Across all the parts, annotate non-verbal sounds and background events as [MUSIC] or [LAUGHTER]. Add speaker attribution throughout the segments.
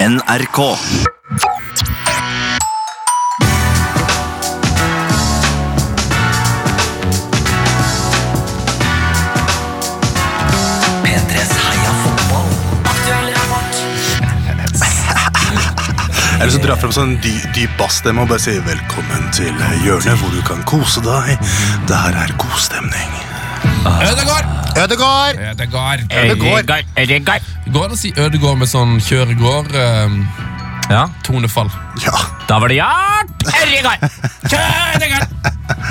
Speaker 1: NRK. P3s heia fotball.
Speaker 2: Jeg har lyst til å dra frem sånn dy, dyp bassstemme og bare si velkommen til hjørnet hvor du kan kose deg. Det her er god stemning.
Speaker 3: Ødegård!
Speaker 4: Ødegård!
Speaker 3: Ødegård.
Speaker 4: Ødegård!
Speaker 3: Går det å si Ødegård med sånn kjøregård? Eh,
Speaker 5: Ja,
Speaker 3: tonefall.
Speaker 2: Ja,
Speaker 5: da var det Gjert Ødegård.
Speaker 3: Ødegård!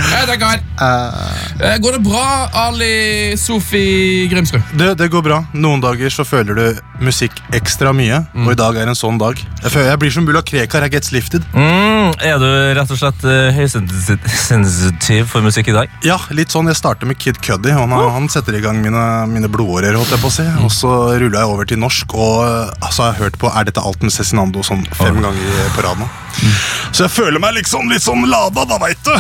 Speaker 3: Ødegård. Eh, går det bra, Ali Sofi Grimsrud?
Speaker 2: det, det går bra. Noen dager så føler du musikk ekstra mye, og i dag er en sånn dag. Jeg føler jeg blir som Bula Krekar, jeg gets lifted.
Speaker 5: Mm, er du rett og slett eh, høysensitiv for musikk i dag?
Speaker 2: Ja, litt sånn, jeg starter med Kid Cuddy, og han, han setter i gang mine, mine blodårer, holdt jeg på å si. Og så ruller jeg over til norsk, og eh, så har jeg hørt på Er dette alt med Cezinando sånn fem ganger på rad nå. Så jeg føler meg liksom litt sånn lada, da, veit du.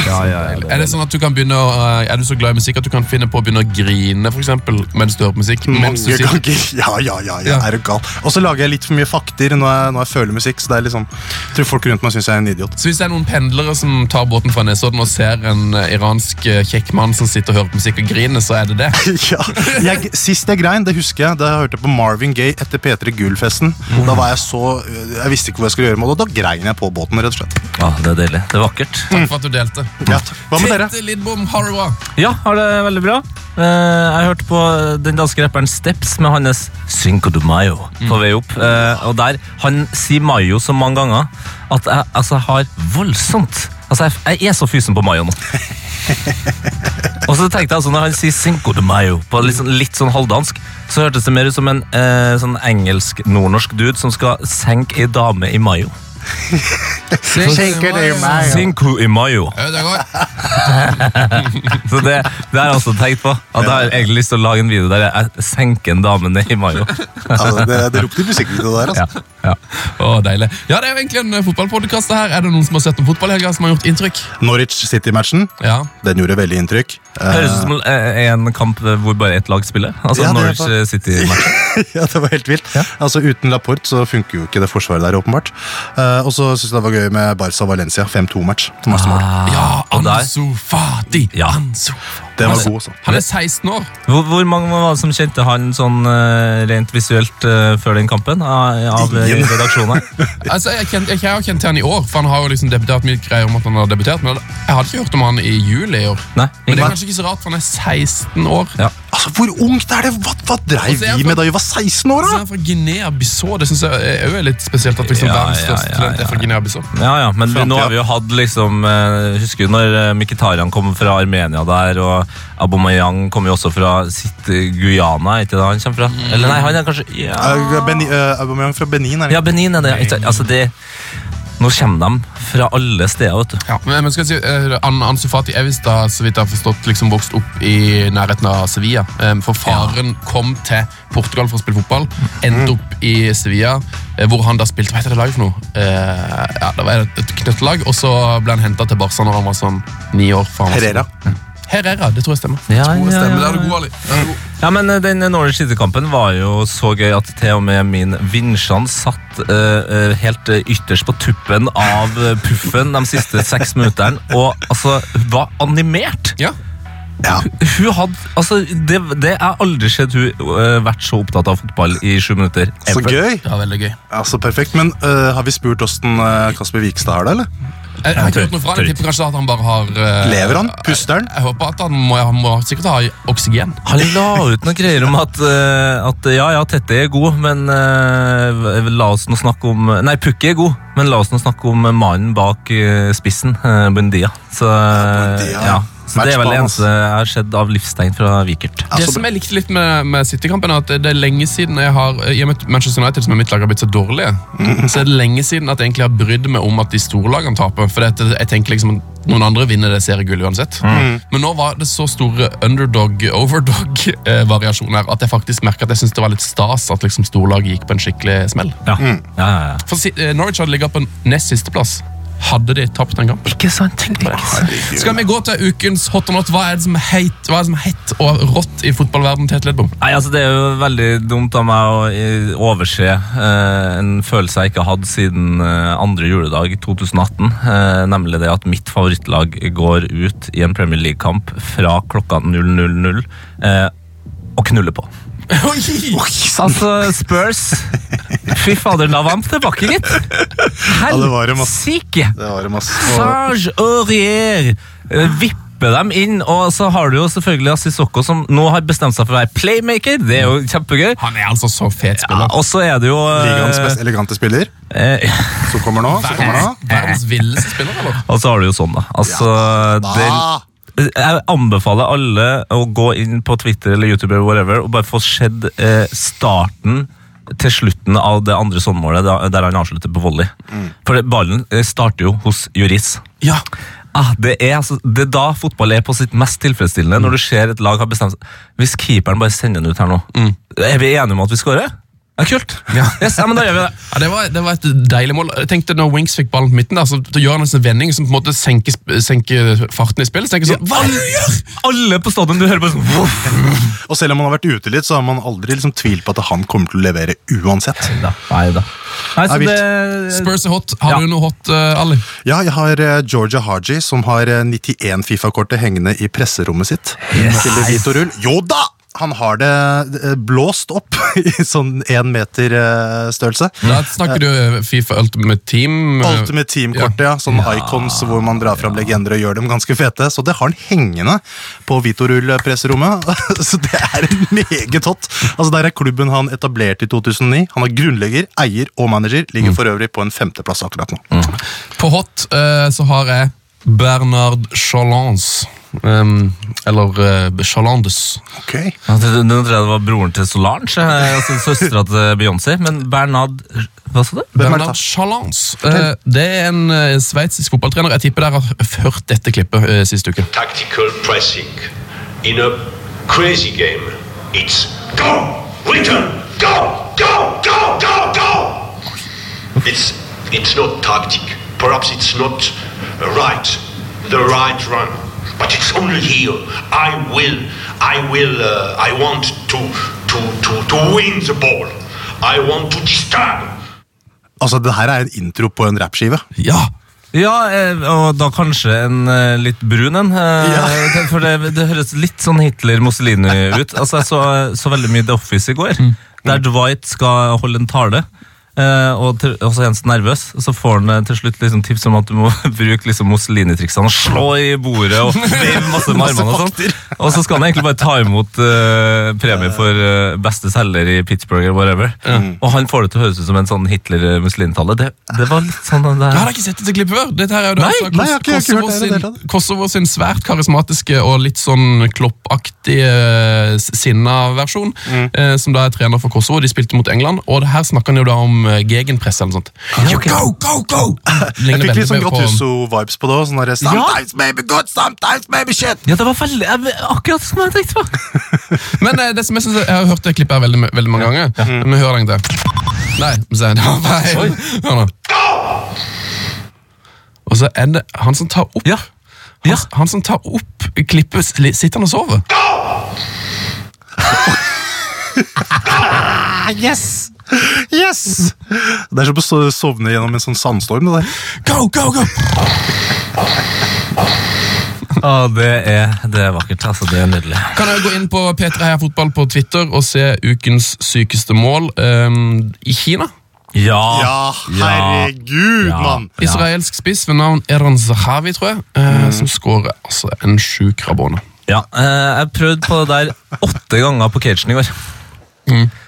Speaker 3: Er det sånn at du kan begynne å, eh, Er du så glad i musikk at du kan finne på å begynne å grine for eksempel, mens du hører på musikk? Mens du
Speaker 2: Mange
Speaker 3: sitter-
Speaker 2: ganger. [LAUGHS] Ja, ja, ja, jeg
Speaker 3: Ja.
Speaker 2: er du gal. Og så lager jeg litt for mye fakter når jeg, når jeg føler musikk. Så det er liksom, jeg tror folk rundt meg syns jeg er en [LAUGHS] idiot.
Speaker 3: Så Hvis det er noen pendlere som tar båten fra Nesodden og ser en eh, iransk eh, kjekk mann som sitter og hører på musikk og griner, så er det det.
Speaker 2: Ja, jeg, Sist jeg grein, det husker jeg, da jeg hørte på Marvin Gaye etter P3 Gull-festen. Da var jeg så, jeg visste ikke hva jeg skulle gjøre med det, og da grein jeg på båten. rett og slett.
Speaker 5: Ja, Ah, det er deilig. Det er vakkert.
Speaker 3: Takk for at du delte.
Speaker 2: Ja. Hva med dere?
Speaker 3: Tete Lidbom, har det bra.
Speaker 5: Ja, har det veldig bra. Eh, jeg hørte på den danske rapperen Steps med hans Cinco de Mayo på vei opp. Eh, og der, Han sier mayo så mange ganger at jeg, altså, jeg har voldsomt Altså, jeg, jeg er så fysen på mayo nå. og så tenkte jeg altså, Når han sier Cinco de Mayo på litt sånn, litt sånn halvdansk, så hørtes det mer ut som en eh, sånn engelsk-nordnorsk dude som skal senke ei dame i mayo.
Speaker 4: Shaker det i meg.
Speaker 5: Cinco i mayo.
Speaker 3: eh, Ødegård.
Speaker 5: Så det, det har jeg også tenkt på. At Jeg har egentlig lyst til å lage en video der jeg senker en dame ned i mayo.
Speaker 2: Altså, det, det ropte i musikkvideo der. altså.
Speaker 5: Ja, ja.
Speaker 3: Å, deilig. Ja, det er jo egentlig en eh, fotballpodcast det her. Er det noen som har sett noen fotball i helga som har gjort inntrykk?
Speaker 2: Norwich City-matchen
Speaker 3: Ja.
Speaker 2: den gjorde veldig inntrykk. Eh,
Speaker 5: Høres ut som eh, en kamp hvor bare ett lag spiller. Altså
Speaker 2: Ja, det er
Speaker 5: Norwich
Speaker 2: bare-
Speaker 5: City.
Speaker 2: [LAUGHS] ja, Det var helt vilt. Altså, Uten Laporte så funker jo ikke det forsvaret der, åpenbart. Eh, og så syns jeg det var gøy med Barca-Valencia. 5-2-match. Masse mål.
Speaker 3: Ja,
Speaker 5: Ah, og der-
Speaker 3: Ansu Fati.
Speaker 5: Ja.
Speaker 3: Ansu.
Speaker 2: Den var
Speaker 3: Han er-
Speaker 2: god, altså.
Speaker 3: Han er 16 år.
Speaker 5: Hvor, hvor mange var det som kjente han sånn eh, rent visuelt eh, før den kampen? Av, av eh,
Speaker 2: Ingen.
Speaker 5: redaksjonen?
Speaker 3: [LAUGHS] Altså, jeg, kjent, jeg, har kjent til han i år, for han har jo liksom debutert mye greier om at han har debutert, men jeg hadde ikke hørt om han i juli i år.
Speaker 5: Nei,
Speaker 3: Men det er
Speaker 5: ingen.
Speaker 3: kanskje ikke så rart, for han er 16 år.
Speaker 5: Ja.
Speaker 2: Altså, Hvor ungt er det? Hva, hva
Speaker 3: Og
Speaker 2: dreiv
Speaker 3: så er Altså,
Speaker 2: vi
Speaker 3: jeg
Speaker 2: med da vi var 16 år?
Speaker 3: Så er
Speaker 2: da?
Speaker 3: han fra Guinea-Bissau. Det synes jeg er- er jo litt spesielt at liksom
Speaker 5: Ja,
Speaker 3: verdens
Speaker 5: ja,
Speaker 3: største
Speaker 5: ja,
Speaker 3: talent er fra
Speaker 5: ja.
Speaker 3: Guinea-Bissau.
Speaker 5: Ja, ja, men vi, nå
Speaker 2: Framtida.
Speaker 5: har vi jo hatt liksom eh, Husker du når eh, Mkhitaryan kom fra Armenia der, og Abomayang kom jo også fra sitt eh, Guyana, er ikke det han kommer fra?
Speaker 3: Mm.
Speaker 5: Eller nei, han er kanskje ja.
Speaker 2: Eh, Beni- eh, Aubameyang fra Benin, er det?
Speaker 5: ja, Benin er det. ikke sant? Altså, det Nå kommer de fra alle steder, vet du.
Speaker 3: Ja. Men, men skal jeg si, eh, An Ansu Fati er visst da, så vidt jeg har forstått, liksom vokst opp i nærheten av Sevilla. Eh, For faren kom til Portugal for å spille fotball, endte opp i Sevilla, eh, hvor han da spilte Hva heter det laget for noe? Eh, ja, det var et knøttlag, og så ble han henta til Barca når han var sånn ni år. for han var
Speaker 2: Herrera.
Speaker 3: sånn- Herrera, det tror jeg stemmer.
Speaker 5: Ja,
Speaker 3: Tror
Speaker 5: ja,
Speaker 3: jeg stemmer.
Speaker 5: ja,
Speaker 3: Der er du
Speaker 5: ja.
Speaker 3: god, Ali. Der er du god.
Speaker 5: Ja, men eh, den Norwich City-kampen var jo så gøy at til og med min vinsjene satt eh, eh, helt eh, ytterst på tuppen av eh, puffen de siste seks minuttene, og altså var animert!
Speaker 3: Ja.
Speaker 2: Ja.
Speaker 5: Hun hadde, altså, det, det er aldri skjedd hun eh, vært så opptatt av fotball i sju minutter.
Speaker 2: Så
Speaker 5: ever.
Speaker 2: gøy!
Speaker 3: Det var veldig gøy.
Speaker 2: Ja, så perfekt. Men eh, har vi spurt åssen eh, Kasper Vikstad har det, eller?
Speaker 3: Jeg, jeg Eh, har ikke hørt noe fra han. Jeg
Speaker 5: Tøyt.
Speaker 3: tipper kanskje at han bare har eh,
Speaker 2: Lever han? Puster han?
Speaker 3: Jeg håper at han må, han må sikkert ha oksygen.
Speaker 5: Han la ut noen greier om at, eh, at ja, ja, Tette er god, men eh, la oss nå snakke om Nei, Pukki er god, men la oss nå snakke om mannen bak eh, spissen, eh, Bundia. Så, eh,
Speaker 2: Buendia.
Speaker 5: ja. Så det er vel det
Speaker 2: Matchbanen,
Speaker 5: eneste jeg har sett av livstegn fra Vikert.
Speaker 3: det som jeg likte litt med, med City-kampen, er at det er lenge siden jeg har eh, I og med at Manchester United, som er mitt lag, har blitt så dårlige, så er det lenge siden at jeg egentlig har brydd meg om at de store lagene taper. For det, at jeg tenker liksom at noen andre vinner det seriegullet uansett. Men nå var det så store underdog-overdog-variasjoner at jeg faktisk merket at jeg syntes det var litt stas at liksom storlaget gikk på en skikkelig smell.
Speaker 5: Mm. Ja, ja, ja, ja.
Speaker 3: For si- eh, Norwich hadde ligget på en nest sisteplass. hadde de tapt den kampen.
Speaker 5: Ikke sant? Tenk på det.
Speaker 3: Skal vi gå til ukens hot or not? Hva er det som er heit, hva er det som er hett og rått i fotballverdenen til Tete Lidbom?
Speaker 5: Nei, altså Det er jo veldig dumt av meg å eh, overse eh, en følelse jeg ikke har hatt siden eh, andre juledag i 2018. Eh, nemlig det at mitt favorittlag går ut i en Premier League-kamp fra klokka 0.00 eh, og knuller på.
Speaker 3: Oi!
Speaker 5: Altså, Spurs Fy fader, la ham tilbake, gitt!
Speaker 2: det var dem, ass.
Speaker 5: Helsike!
Speaker 2: Det var det masse. Og
Speaker 5: Serge Aurier eh, vipper dem inn, og så har du jo selvfølgelig Assisoko som nå har bestemt seg for å være playmaker. Det er jo kjempegøy.
Speaker 3: Han er altså så fet
Speaker 5: Ja,
Speaker 3: spiller.
Speaker 5: og så er det jo eh,
Speaker 2: ligaens mest elegante spiller,
Speaker 5: eh,
Speaker 2: som kommer nå. Som kommer nå.
Speaker 3: Verdens villeste spiller, eller?
Speaker 5: Og så har du jo sånn, da. Altså,
Speaker 2: Ah,
Speaker 5: det, jeg anbefaler alle å gå inn på Twitter eller YouTube eller whatever, og bare få sett eh, starten til slutten av det andre sånnmålet, da- der han avslutter på volley. For det, ballen eh, starter jo hos Juris.
Speaker 3: Ja.
Speaker 5: Ah, det, er, altså, det er da fotball er på sitt mest tilfredsstillende, når du ser et lag har bestemt seg. Hvis keeperen bare sender den ut her nå, er vi enige om at vi skårer? Mm. Ja, kult! Yes, ja, men da gjør vi det.
Speaker 3: Ja, det, var, det var et deilig mål. Jeg tenkte Når Wings fikk ballen på midten, der, så da gjør han en sånn vending som på en måte senker, sp- senker farten i spillet. Så tenker jeg sånn, hva er det du gjør?
Speaker 5: Alle på stadion, du hører bare sånn voff.
Speaker 2: og selv om han har vært ute litt, så har man aldri liksom tvilt på at han kommer til å levere uansett.
Speaker 5: Neida, neida. Nei, så
Speaker 2: Det er
Speaker 5: det
Speaker 3: Spurs er hot. Har
Speaker 5: Ja.
Speaker 3: du noe hot, eh, Ali?
Speaker 2: Ja, jeg har eh, Georgia Haji, som har eh, 91 Fifa-kortet hengende i presserommet sitt. Til Vito Rull. Jo da! Han har det eh, blåst opp [LAUGHS] i sånn én meter eh, størrelse.
Speaker 3: Da snakker du eh, Fifa Ultimate Team. eh,
Speaker 2: Ultimate Team-kortet, ja. Sånne icons hvor man drar fram legender og gjør dem ganske fete. Så det har han hengende på Vitorull-presserommet. eh, [LAUGHS] så det er meget hot. Altså, der er klubben han etablerte i 2009. Han er grunnlegger, eier og manager. Ligger for øvrig på en femteplass akkurat nå.
Speaker 3: På hot eh, så har jeg Bernard Chalance. Um, eller eh, Chalandes.
Speaker 2: Ok.
Speaker 5: Ja, det- det- Nå tror jeg det var broren til Solange, eh, altså søstera til Beyoncé, men Bernard Hva sa
Speaker 2: Hvem
Speaker 5: du?
Speaker 2: er
Speaker 3: Bernard
Speaker 2: dette?
Speaker 3: Chalance. Eh, det er en eh, sveitsisk fotballtrener. Jeg tipper dere har hørt dette klippet eh, sist uke.
Speaker 6: tactical pressing in a crazy game. It's go, return, go, go, go, go, go. It's it's not tactic. Perhaps it's not right, the right run. But it's only here. I will, I will, uh, I want to to to to win the ball. I want to disturb.
Speaker 2: Altså, det her er en intro på en rappskive.
Speaker 3: Ja!
Speaker 5: Ja, eh, og da kanskje en eh, litt brun en. eh, det- For det, det høres litt sånn Hitler-Mussolini ut. Altså, Jeg så, så veldig mye The Office i går, der Dwight skal holde en tale. eh, og, til, og så er han så nervøs, og så får han eh, til slutt liksom tips om at du må [LAUGHS] bruke liksom Mussolini-triksene. og Slå i bordet og veive masse med armene og sånn. Og så skal han egentlig bare ta imot eh, premie for eh, beste selger i Pittsburgh eller whatever. Og han får det til å høres ut som en sånn Hitler-Mussolini-tale. Det, det var litt sånn den der-
Speaker 3: Jeg har ikke sett dette klippet før. Dette her er jo da
Speaker 5: Nei,
Speaker 3: fra
Speaker 2: nei, jeg har ikke- jeg har ikke hørt
Speaker 3: Kosovo
Speaker 2: det i det hele tatt.
Speaker 3: sin, Kosovo sin svært karismatiske og litt sånn kloppaktige eh, sinna versjon, eh, som da er trener for Kosovo. De spilte mot England, og det her snakker han jo da om eh, gegenpress eller noe sånt.
Speaker 5: Ja, ok.
Speaker 3: Go, go, go!
Speaker 2: Ah, [LAUGHS] Jeg fikk litt sånn
Speaker 3: på-
Speaker 2: Gattuso-vibes på det. også, Sånn der, sometimes maybe good, sometimes maybe shit.
Speaker 5: Ja, det var veldig, jeg, akkurat som jeg tenkte på.
Speaker 3: Men eh, det som jeg synes, jeg har hørt det klippet her veldig, veldig mange ganger. Men hør den til. Nei, men se, det var feil. Hør nå. Og så er det han som tar opp
Speaker 5: Ja.
Speaker 3: Han,
Speaker 5: Ja.
Speaker 3: han som tar opp klippet, sli- sitter han og sover?
Speaker 2: Yes! Det er som å so- sovne gjennom en sånn sandstorm. det der.
Speaker 3: Go, go, go!
Speaker 5: Å, det er, det er vakkert. Altså, det er nydelig.
Speaker 3: Kan jeg gå inn på P3 Heia Fotball på Twitter og se ukens sykeste mål ehm, i Kina?
Speaker 5: Ah, Ja.
Speaker 2: Ja, herregud,
Speaker 5: Ja.
Speaker 2: mann!
Speaker 3: Israelsk spiss ved navn Eran Zahavi, tror jeg, eh, som skårer altså, en sjuk rabone.
Speaker 5: Ja, eh, jeg prøvde på det der åtte ganger på cagen i går.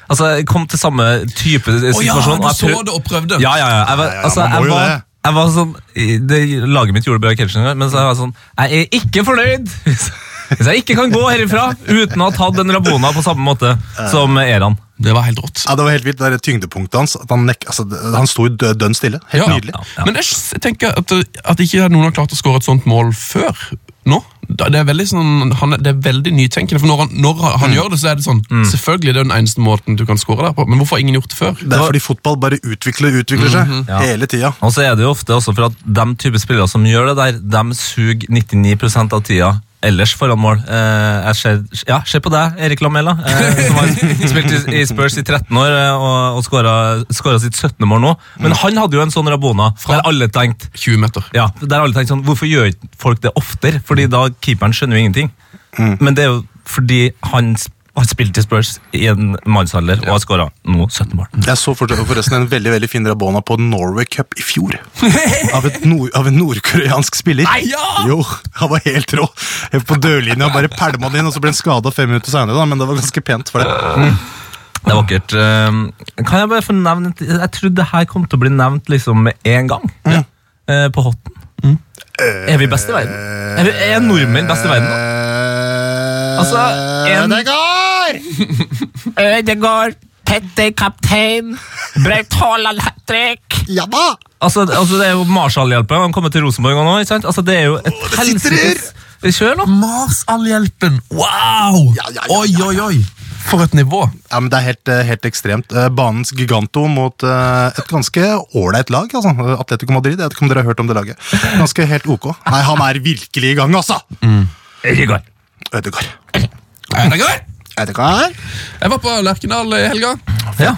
Speaker 5: Altså, jeg kom til samme type situasjon. og jeg prøv-
Speaker 3: og prøvde.
Speaker 5: Ja, ja, ja. Jeg var,
Speaker 2: ja,
Speaker 5: altså,
Speaker 2: man må
Speaker 5: jeg
Speaker 2: jo
Speaker 5: var,
Speaker 2: det.
Speaker 5: jeg var sånn i- det, Laget mitt gjorde bra catching, men så var jeg sånn Jeg er ikke fornøyd! Hvis hvis jeg ikke kan gå herifra uten å ha tatt en Rabona på samme måte som Eran.
Speaker 3: Det var helt rått.
Speaker 2: Ja, Det var helt vilt, det der tyngdepunktet hans. At han, nek altså, det- han sto jo dø- dønn stille. Helt
Speaker 3: Ja.
Speaker 2: nydelig.
Speaker 5: ja.
Speaker 3: eh, Men jeg s- tenker at, at ikke noen har klart å skåre et sånt mål før nå. da- det er veldig, sånn, han, er- det er veldig nytenkende. For når han, når han han gjør det, så er det sånn Selvfølgelig det er den eneste måten du kan score der på, men hvorfor har ingen gjort det før?
Speaker 2: Det er fordi fotball bare utvikler og utvikler seg
Speaker 5: Ja.
Speaker 2: hele tida.
Speaker 5: Og så er det jo ofte også for at de type spillere som gjør det der, de suger 99 av tida ellers foran mål. Eh, jeg ser, ja, se på deg, Erik Lamela, eh, som har spilt i, i Spurs i 13 år eh, og, og skåra sitt 17. mål nå. Men han hadde jo en sånn Rabona der alle tenkte
Speaker 3: 20 meter.
Speaker 5: ja, der alle tenkte sånn, Hvorfor gjør ikke folk det oftere? Fordi da keeperen skjønner jo ingenting. Men det er jo fordi han sp- har spilt i Spurs i en mannsalder og har skåra nå 17 mål.
Speaker 2: Jeg så for- forresten en veldig veldig fin drabona på Norway Cup i
Speaker 5: [LAUGHS]
Speaker 2: fjor. Av, et nord, av en nordkoreansk spiller.
Speaker 3: Nei, ja!
Speaker 2: Jo, Han var helt rå. Helt På dørlinja bare pælma den inn, og så ble han skada fem minutter seinere. da, Men det var ganske pent for det.
Speaker 5: Det er vakkert. Eh, Kan jeg bare få nevne Jeg trodde det her kom til å bli nevnt liksom med en gang.
Speaker 3: Mm.
Speaker 5: Eh, På hotten. Er vi best i verden? Er, vi, er nordmenn best i verden nå?
Speaker 2: Eh,
Speaker 5: Altså, en-
Speaker 4: Det går!
Speaker 5: [LAUGHS]
Speaker 7: Ødegaard, Petter kaptein, Braut Haaland hat trick.
Speaker 4: Ja da!
Speaker 5: Altså, altså det er jo Marshall-hjelpen. Han kommer til Rosenborg nå. ikke sant? Altså, det er jo et helsikes Kjør, da!
Speaker 3: Marshall-hjelpen! Wow! Oi, oi, oi! For et nivå!
Speaker 2: Ja, men Det er helt, eh, helt ekstremt. Eh, Banens giganto mot eh, et ganske ålreit lag. altså. Atletico Madrid. Jeg vet ikke om dere har hørt om det laget. Ganske helt ok. Nei, han er virkelig i gang, altså!
Speaker 5: Ødegaard.
Speaker 2: Ødegaard.
Speaker 3: Er det gøy?
Speaker 2: Er det klar?
Speaker 3: Jeg var på Lerkendal i helga.
Speaker 5: Ja.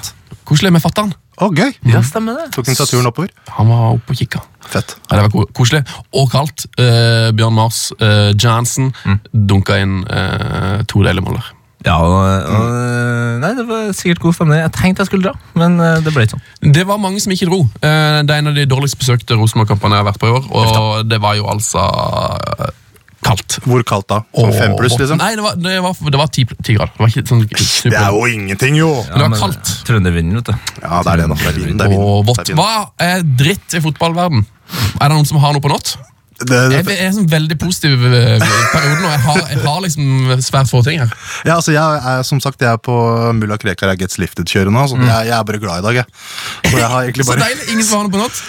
Speaker 3: Koselig med fatter'n.
Speaker 2: Å, gøy!
Speaker 5: ja, stemmer det.
Speaker 2: Tok han seg turen oppover?
Speaker 3: Han var oppe og kikka.
Speaker 2: Fett.
Speaker 3: Ja, det var ko- koselig. Og kaldt. Eh, Bjørn Mars eh, Johnson
Speaker 2: Mm.
Speaker 3: dunka inn eh, to deilige mål der.
Speaker 5: Ja, og, og, nei, Det var sikkert god stemning. Jeg tenkte jeg skulle dra, men eh, det ble ikke sånn.
Speaker 3: Det var mange som ikke dro. Eh, Det er en av de dårligst besøkte Rosenborg-kampene jeg har vært på i år, og det var jo altså eh, kaldt.
Speaker 2: Hvor kaldt da? Sånn fem pluss, liksom?
Speaker 3: Nei, det var, det var, det var ti, ti grader. Det var ikke sånn
Speaker 2: Det
Speaker 3: super,
Speaker 2: er jo ingenting, jo!
Speaker 3: men det var
Speaker 5: Men,
Speaker 3: kaldt.
Speaker 5: eh, Trøndervinden, vet du.
Speaker 2: Ja, det er det, da. Det er vind. Det er vind.
Speaker 3: Og
Speaker 2: Det
Speaker 3: vått.
Speaker 2: er vind.
Speaker 3: Hva er dritt i fotballverden? Er det noen som har noe på nått?
Speaker 2: Det-
Speaker 3: Jeg
Speaker 2: det-
Speaker 3: er sånn veldig positiv eh, periode nå. Jeg har, jeg har liksom svært få ting her.
Speaker 2: Ja, altså, jeg er som sagt jeg er på mulla Krekar er Gets Lifted-kjøret nå. Så jeg, jeg er bare glad i dag, jeg. Så jeg har egentlig
Speaker 3: Mm. Så
Speaker 2: bare
Speaker 3: deilig! Ingen som har noe på nått.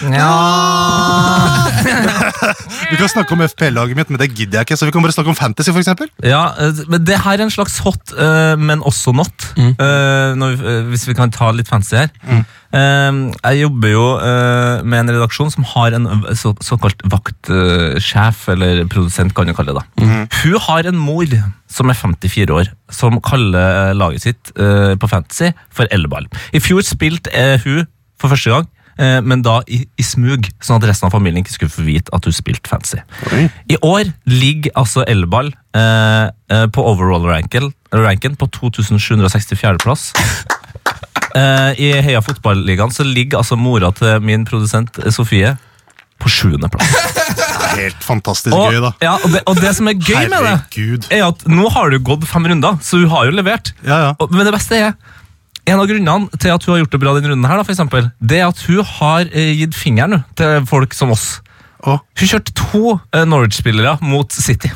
Speaker 2: Du kan snakke om FPL-laget mitt, men det gidder jeg ikke. Så vi kan bare snakke om Fantasy, for eksempel.
Speaker 5: Ja, eh, men det her er en slags hot, eh, men også not. Eh, Når, vi- eh, hvis vi kan ta litt fancy her. Eh, Jeg jobber jo eh, med en redaksjon som har en v- så, såkalt vaktsjef, eller produsent kan du kalle det da. Hun har en mor som er 54 år, som kaller laget sitt eh, på fantasy for Elleball. I fjor spilte eh, hun for første gang, eh, men da i, i smug, sånn at resten av familien ikke skulle få vite at hun spilte fantasy. I år ligger altså Elball eh, eh, på overall-ranken ranken på 2764.
Speaker 2: [LAUGHS]
Speaker 5: plass. Eh, I Heia fotballigaen så ligger altså mora til min produsent eh, Sofie på sjuende plass.
Speaker 2: Det er helt fantastisk
Speaker 5: Og,
Speaker 2: gøy, da.
Speaker 5: ja, og, det, og det som er gøy med det,
Speaker 2: Herregud.
Speaker 5: er at nå har det jo gått fem runder, så hun har jo levert.
Speaker 2: Ja, ja.
Speaker 5: Og- Men det beste er en av grunnene til at hun har gjort det bra denne runden, her da, for eksempel, det er at hun har eh, gitt fingeren nå, til folk som oss.
Speaker 2: Å,
Speaker 5: Hun kjørte to eh, Norwich-spillere mot City.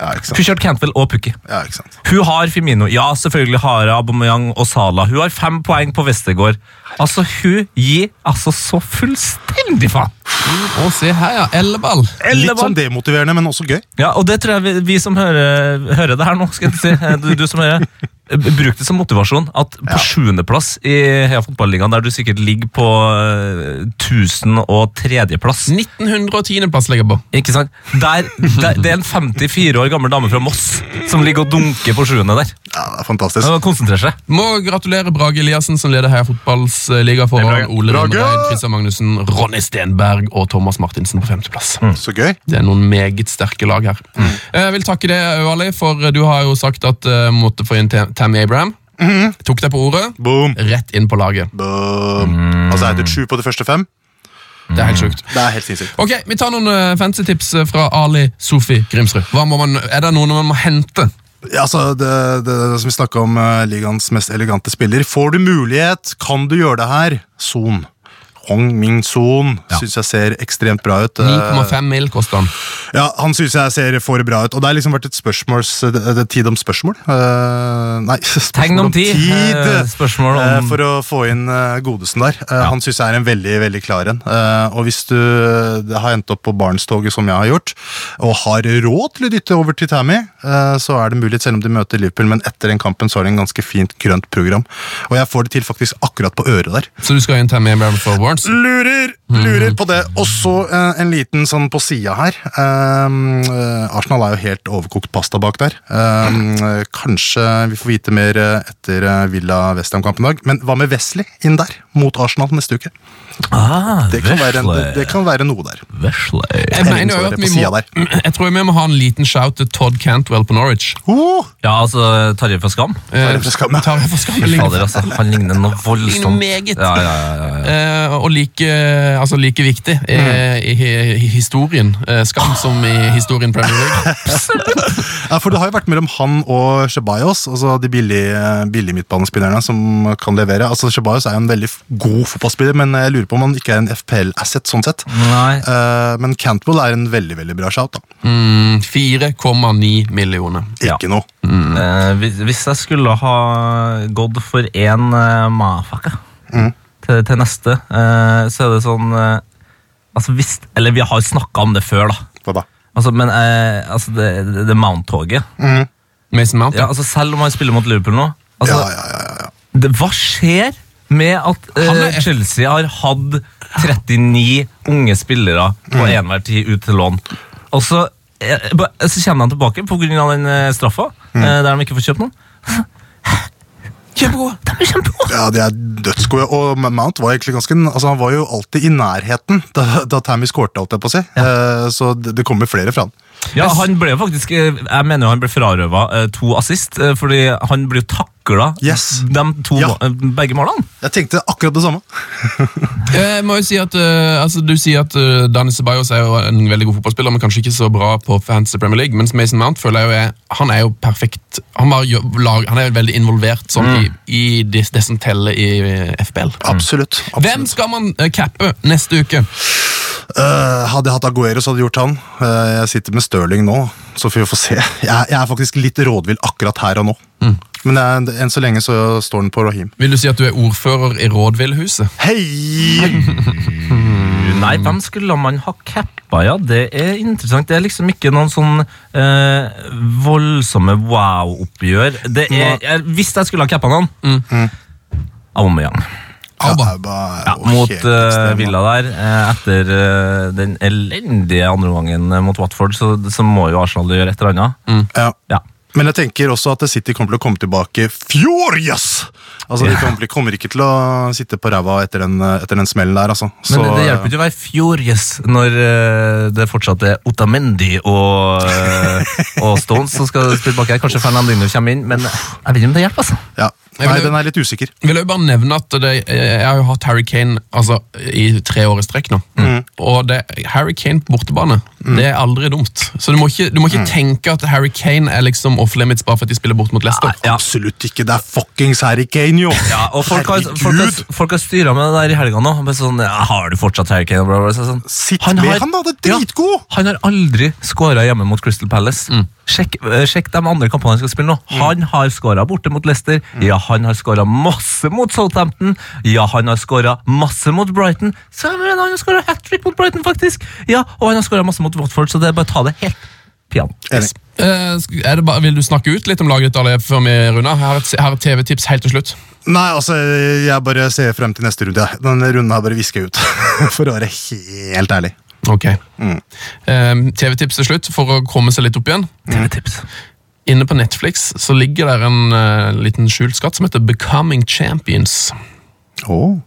Speaker 2: ja, ikke
Speaker 5: Hun
Speaker 2: sant.
Speaker 5: kjørte Cantwell og Pukki.
Speaker 2: Ja, ikke sant.
Speaker 5: Hun har Firmino. Ja, selvfølgelig har hun Aubameyang og Salah. Hun har fem poeng på Vestergaard. Altså, hun gir altså så fullstendig faen!
Speaker 3: Og se her, ja. Elleball.
Speaker 2: Litt sånn demotiverende, men også gøy.
Speaker 5: Ja, og det tror jeg vi, vi som hører, hører det her nå, skal jeg si, eh, du, du som hører, eh, bruk det som motivasjon at på sjuendeplass i Heia Fotballigaen, der du sikkert ligger på eh, 1003.-plass
Speaker 3: 1910.-plass ligger jeg på.
Speaker 2: Mm.
Speaker 5: Ikke sant? Der, der, det er en 54 år gammel dame fra Moss som ligger og dunker på sjuende der.
Speaker 2: Ja, det er fantastisk.
Speaker 5: Hun må konsentrere seg.
Speaker 3: Må gratulere Brage Eliassen, som leder Heia fotballs eh, liga foran Ole
Speaker 2: Brage!
Speaker 3: Rønnereid, Christian Magnussen, Ronny Stenberg og Thomas Martinsen på femteplass.
Speaker 2: Så gøy.
Speaker 3: Det er noen meget sterke lag her. Eh, Jeg vil takke deg, Ali, for eh, du har jo sagt at du måtte få inn Tam- Tammy Abraham.
Speaker 2: Mm.
Speaker 3: Tok deg på ordet.
Speaker 2: Boom.
Speaker 3: Rett inn på laget.
Speaker 2: Boom.
Speaker 5: Mm.
Speaker 2: Altså, jeg er til sju på de første fem.
Speaker 3: Det er helt sjukt.
Speaker 2: Det er helt sinnssykt.
Speaker 3: Ok, Vi tar noen eh, fancy tips eh, fra Ali Sofi Grimsrud. Hva må man, er det noen man må hente?
Speaker 2: Ja, altså, det, det, det som vi snakka om, eh, ligaens mest elegante spiller. Får du mulighet, kan du gjøre det her. Son. Ong Ming Son
Speaker 5: Ja.
Speaker 2: syns jeg ser ekstremt bra ut. Eh,
Speaker 3: 9,5 mil koster han.
Speaker 2: ja, Han syns jeg ser for bra ut. Og det har liksom vært et spørsmål det er tid om spørsmål. Eh, nei, [LAUGHS] spørsmål
Speaker 5: Tegn om tid. Eh, spørsmål om-
Speaker 2: Eh, for å få inn eh, godesen der. Eh, Han syns jeg er en veldig veldig klar en. Eh, og hvis du eh, har endt opp på Barnstoget, som jeg har gjort, og har råd til å dytte over til Tammy, eh, så er det mulig, selv om de møter Liverpool, men etter den kampen så har de en ganske fint grønt program. Og jeg får det til faktisk akkurat på øret der.
Speaker 3: Så du skal ha en Tammy Abraham for Warns?
Speaker 2: Lurer, lurer på det. Og så eh, en liten sånn på sida her. Ehm, eh, Arsenal er jo helt overkokt pasta bak der. Ehm, eh, kanskje vi får vite mer eh, etter eh, Villa Westham-kampen i dag. Men hva med Wesley inn der, mot Arsenal neste uke?
Speaker 5: Ah,
Speaker 2: Det kan, være, en, det, det kan være noe der.
Speaker 3: Jeg,
Speaker 2: Jeg
Speaker 3: mener jo
Speaker 2: innså det
Speaker 3: at
Speaker 2: på
Speaker 3: vi
Speaker 2: siden
Speaker 3: må, [CLEARS THROAT] jeg tror vi må ha en liten shout til Todd Cantwell på Norwich.
Speaker 2: Oh,
Speaker 5: Ja, altså, Tarjei fra Skam.
Speaker 3: Eh,
Speaker 2: for skam, ja.
Speaker 3: tar jeg for skam,
Speaker 5: Fy
Speaker 3: ligner-
Speaker 5: Fader, altså, han ligner noe voldsomt.
Speaker 3: Ligner meget.
Speaker 5: Ja, ja, ja, ja, ja.
Speaker 3: Eh, og like, altså like viktig
Speaker 2: Mm.
Speaker 3: eh, i, i- i historien eh, Skam som i historien Premier
Speaker 2: [LAUGHS]
Speaker 3: League.
Speaker 2: Ja, for det har jo vært mellom han og Ceballos, altså de billige, billige midtbanespillerne som kan levere. Altså Ceballos er jo en veldig f- god fotballspiller, men jeg lurer på om han ikke er en FPL-asset sånn sett.
Speaker 5: Nei.
Speaker 2: Eh, men Cantwell er en veldig veldig bra shout. da.
Speaker 3: Mm, 4,9 millioner.
Speaker 5: Ja.
Speaker 2: Ikke noe.
Speaker 5: Eh, hvis, hvis jeg skulle ha gått for én uh, mafaka til, til neste, eh, så er det sånn eh, Altså hvis Eller vi har snakka om det før, da.
Speaker 2: Hva da?
Speaker 5: Altså, men eh, altså, det, det, det Mount-toget
Speaker 3: Mason Mount.
Speaker 5: ja, altså, Selv om han spiller mot Liverpool nå altså,
Speaker 2: Ja, ja, ja, ja.
Speaker 5: Det, hva skjer med at eh,
Speaker 3: Han er-
Speaker 5: Chelsea har hatt 39 unge spillere på enhver tid ut til lån? Og så, eh, ba- så kommer han tilbake pga. den eh, straffa, eh, der de ikke får kjøpt [LAUGHS] noen. Kjempegode! De er kjempegode!
Speaker 2: ja, de er dødsgode. Og Mount var egentlig ganske Altså Han var jo alltid i nærheten da, da Tammy skårte, alt jeg på å si. Eh, så det, det kommer flere fra han.
Speaker 5: Ja, han ble jo faktisk eh, Jeg mener jo han ble frarøva eh, to assist, eh, fordi han blir jo takla
Speaker 2: Yes.
Speaker 5: de to,
Speaker 2: Ja.
Speaker 5: må- eh, begge målene.
Speaker 2: Jeg tenkte akkurat det samme.
Speaker 3: Jeg må jo si at, eh, altså, du sier at eh, Dani Ceballos er jo en veldig god fotballspiller, men kanskje ikke så bra på Fantasy Premier League. Mens Mason Mount føler jeg jo er, han er jo perfekt. Han, var, jo- lag- han er jo veldig involvert sånn, i, i det, det som teller i eh, FBL.
Speaker 5: Mm.
Speaker 2: Absolutt. absolutt.
Speaker 3: Hvem skal man eh, cappe neste uke?
Speaker 2: Eh, hadde jeg hatt Aguero, så hadde jeg gjort han. Eh, jeg sitter med Stirling nå, så får vi få se. Jeg, jeg er faktisk litt rådvill akkurat her og nå.
Speaker 5: Mm.
Speaker 2: Men jeg, enn så lenge så står den på Raheem.
Speaker 3: Vil du si at du er ordfører i Rådvillhuset?
Speaker 2: Hei!
Speaker 5: Nei, hvem skulle man ha cappa? Ja, det er interessant. Det er liksom ikke noen sånn eh, voldsomme wow-oppgjør. Det er, jeg, hvis jeg skulle ha cappa noen Aubameyang.
Speaker 3: Abba.
Speaker 2: Abba er
Speaker 5: Ja,
Speaker 2: jo
Speaker 5: mot
Speaker 2: helt
Speaker 5: eh,
Speaker 2: ekstrem,
Speaker 5: Villa der. eh, etter eh, den elendige andreomgangen eh, mot Watford, så, så må jo Arsenal gjøre et eller annet.
Speaker 2: Ja.
Speaker 5: Ja.
Speaker 2: Men jeg tenker også at City kommer til å komme tilbake furious! Altså, De kommer, kommer ikke til å sitte på ræva etter den, etter den smellen der. altså.
Speaker 5: Men det hjelper ikke å være furious når eh, det fortsatt er Otamendi og, eh, og Stones som skal spille bak her. Kanskje Fernandinho kommer inn, men eh, jeg vet ikke om det hjelper. altså.
Speaker 2: Ja.
Speaker 3: Jeg
Speaker 2: Nei,
Speaker 3: vil-
Speaker 2: den er litt usikker.
Speaker 3: Vil jeg bare nevne at det, jeg har jo hatt Harry Kane altså, i tre år i strekk nå. Og det, Harry Kane på bortebane, det er aldri dumt. Så du må ikke, du må ikke tenke at Harry Kane er liksom off-limits bare for at de spiller bort mot Leicester.
Speaker 5: Ja.
Speaker 2: Absolutt ikke! Det er fuckings Harry Kane, jo!
Speaker 5: Ja, og folk har, folk har,
Speaker 2: Herregud!
Speaker 5: folk har styra med det der i helga nå. Bare sånn, ja, har du fortsatt Harry Kane? Bla, bla, bla, så sånn.
Speaker 2: Sitt med han, da! Det er dritgod!
Speaker 5: Ja, han har aldri skåra hjemme mot Crystal Palace. Sjekk, eh, sjekk de andre kampene han skal spille nå.
Speaker 2: Mm.
Speaker 5: Han har skåra borte mot Leicester. Ja, han har skåra masse mot Southampton. Ja, han har skåra masse mot Brighton. Så jeg mener, han har skåra hat trick mot Brighton, faktisk! Ja, Og han har skåra masse mot Watford, så det er bare å ta det helt piano.
Speaker 2: Enig.
Speaker 3: Eh, sk- er det bare, vil du snakke ut litt om laget ditt Ale, før vi runder? Her er et, her er et TV-tips helt til slutt.
Speaker 2: Nei, altså, jeg bare ser frem til neste runde. jeg. Denne runden her bare visker jeg ut. [LAUGHS] For å være helt ærlig.
Speaker 3: Ok. Eh, TV-tips til slutt for å komme seg litt opp igjen.
Speaker 5: TV-tips.
Speaker 3: Inne på Netflix så ligger der en eh, liten skjult skatt som heter Becoming Champions.
Speaker 2: Oh.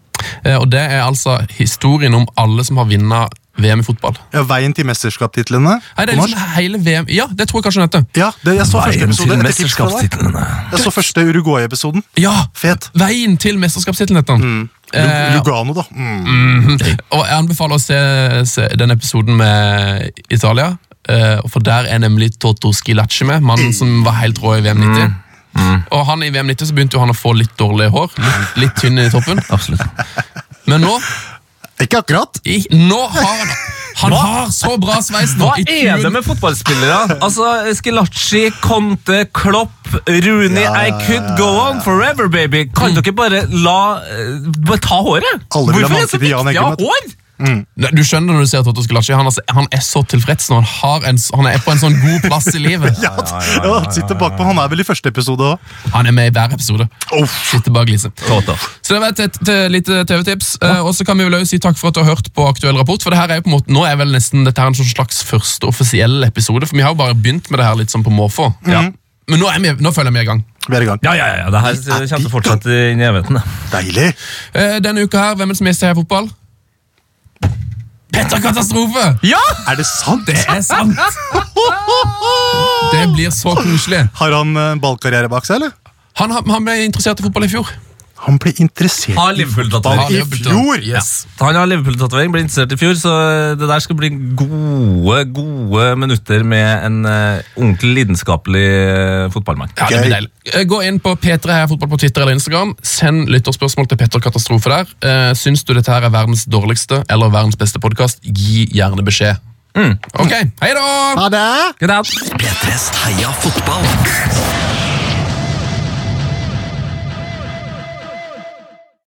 Speaker 3: Eh, og det er altså historien om alle som har vunnet VM i fotball.
Speaker 2: Ja, veien til mesterskapstitlene
Speaker 3: Nei, det er
Speaker 2: på
Speaker 3: liksom
Speaker 2: norsk.
Speaker 3: hele VM Ja, det tror jeg kanskje den heter.
Speaker 2: Ja, det, jeg så første
Speaker 5: Veien
Speaker 2: episode.
Speaker 5: til
Speaker 2: etter tipset der.
Speaker 5: mesterskapstitlene.
Speaker 2: Jeg så første Uruguay-episoden.
Speaker 3: Ja!
Speaker 2: Fet.
Speaker 3: Veien til mesterskapstittelen heter den.
Speaker 5: Mm.
Speaker 3: Eh,
Speaker 2: Lugano, da. Mm.
Speaker 3: [LAUGHS] og jeg anbefaler å se, se den episoden med Italia. eh, for der er nemlig Toto Skilacci med,
Speaker 5: Mm.
Speaker 3: mannen som var helt rå i VM 90. Og han i VM 90 så begynte jo han å få litt dårlig hår. Litt, litt tynn i toppen.
Speaker 5: Absolutt.
Speaker 3: Men nå
Speaker 2: Ikke akkurat.
Speaker 3: I- Nå har han Han har så bra sveis nå!
Speaker 5: Hva
Speaker 3: I
Speaker 5: er
Speaker 3: 20
Speaker 5: det med fotballspillere? Altså, Eskelacci, Conte, Klopp, Rooney
Speaker 2: Ja, ja,
Speaker 5: I could go on forever, baby. Kan dere bare la eh, Bare ta håret?
Speaker 2: Alle vil ha
Speaker 5: Hvorfor er det
Speaker 2: manke
Speaker 5: så
Speaker 2: til Jan
Speaker 5: viktig å ha
Speaker 2: Eggemøt.
Speaker 5: hår?
Speaker 3: Nei, Du skjønner når du ser Totto Skelachi, han, er så- han er så tilfreds når han, har en, s- han er på en sånn god plass i livet.
Speaker 2: [LAUGHS] Ja, ja, Sitter bakpå. Han er vel i første episode òg.
Speaker 3: Han er med i hver episode. Sitter bak lyset.
Speaker 5: Totto.
Speaker 3: Så det var et, et, et lite TV-tips. Eh, og så kan vi vel også si takk for at du har hørt på Aktuell rapport. For det her er jo på en måte, nå er vel nesten dette her en sånn slags første offisiell episode, for vi har jo bare begynt med det her litt sånn på måfå.
Speaker 2: Mhm.
Speaker 3: Men nå, er vi, nå føler jeg vi er i gang.
Speaker 2: Vi er i gang.
Speaker 5: Ja, ja, ja. Det her kommer til å fortsette inn i evigheten. det.
Speaker 2: Deilig!
Speaker 3: Eh, denne uka her, hvem er det som mister her i fotball? Petter Katastrofe!
Speaker 2: Er det sant?
Speaker 3: Det er sant! Det blir så koselig.
Speaker 2: Har han eh, ballkarriere bak seg, eller?
Speaker 3: Han, har- han ble interessert i fotball i fjor.
Speaker 2: Han ble interessert
Speaker 5: Har Liverpool-tatovering.
Speaker 2: I fjor?
Speaker 3: Yes.
Speaker 5: Han har Liverpool-tatovering, ble interessert i fjor, så det der skal bli gode gode minutter med en eh, ordentlig lidenskapelig eh, fotballmann.
Speaker 3: Ja, det
Speaker 2: Gøy.
Speaker 3: blir deilig. Eh, Gå inn på P3 Heia Fotball på Twitter eller Instagram. Send lytterspørsmål til Petter Katastrofe der. Eh, Syns du dette her er verdens dårligste eller verdens beste podkast, gi gjerne beskjed. Ok, hei da!
Speaker 2: Ha det!
Speaker 5: Greit.
Speaker 1: P3s Heia fotball